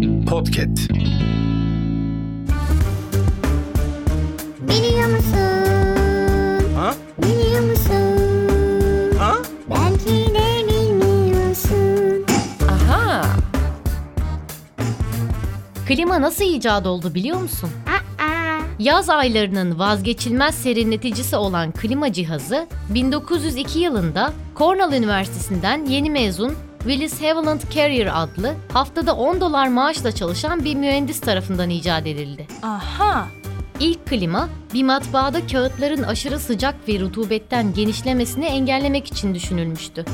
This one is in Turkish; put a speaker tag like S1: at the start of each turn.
S1: Podcast.
S2: Biliyor musun?
S3: Ha?
S2: Biliyor musun?
S3: Ha?
S2: Belki de bilmiyorsun.
S4: Aha. Klima nasıl icat oldu biliyor musun?
S2: Aa,
S4: Yaz aylarının vazgeçilmez serinleticisi olan klima cihazı 1902 yılında Cornell Üniversitesi'nden yeni mezun Willis Haviland Carrier adlı haftada 10 dolar maaşla çalışan bir mühendis tarafından icat edildi.
S5: Aha!
S4: İlk klima bir matbaada kağıtların aşırı sıcak ve rutubetten genişlemesini engellemek için düşünülmüştü.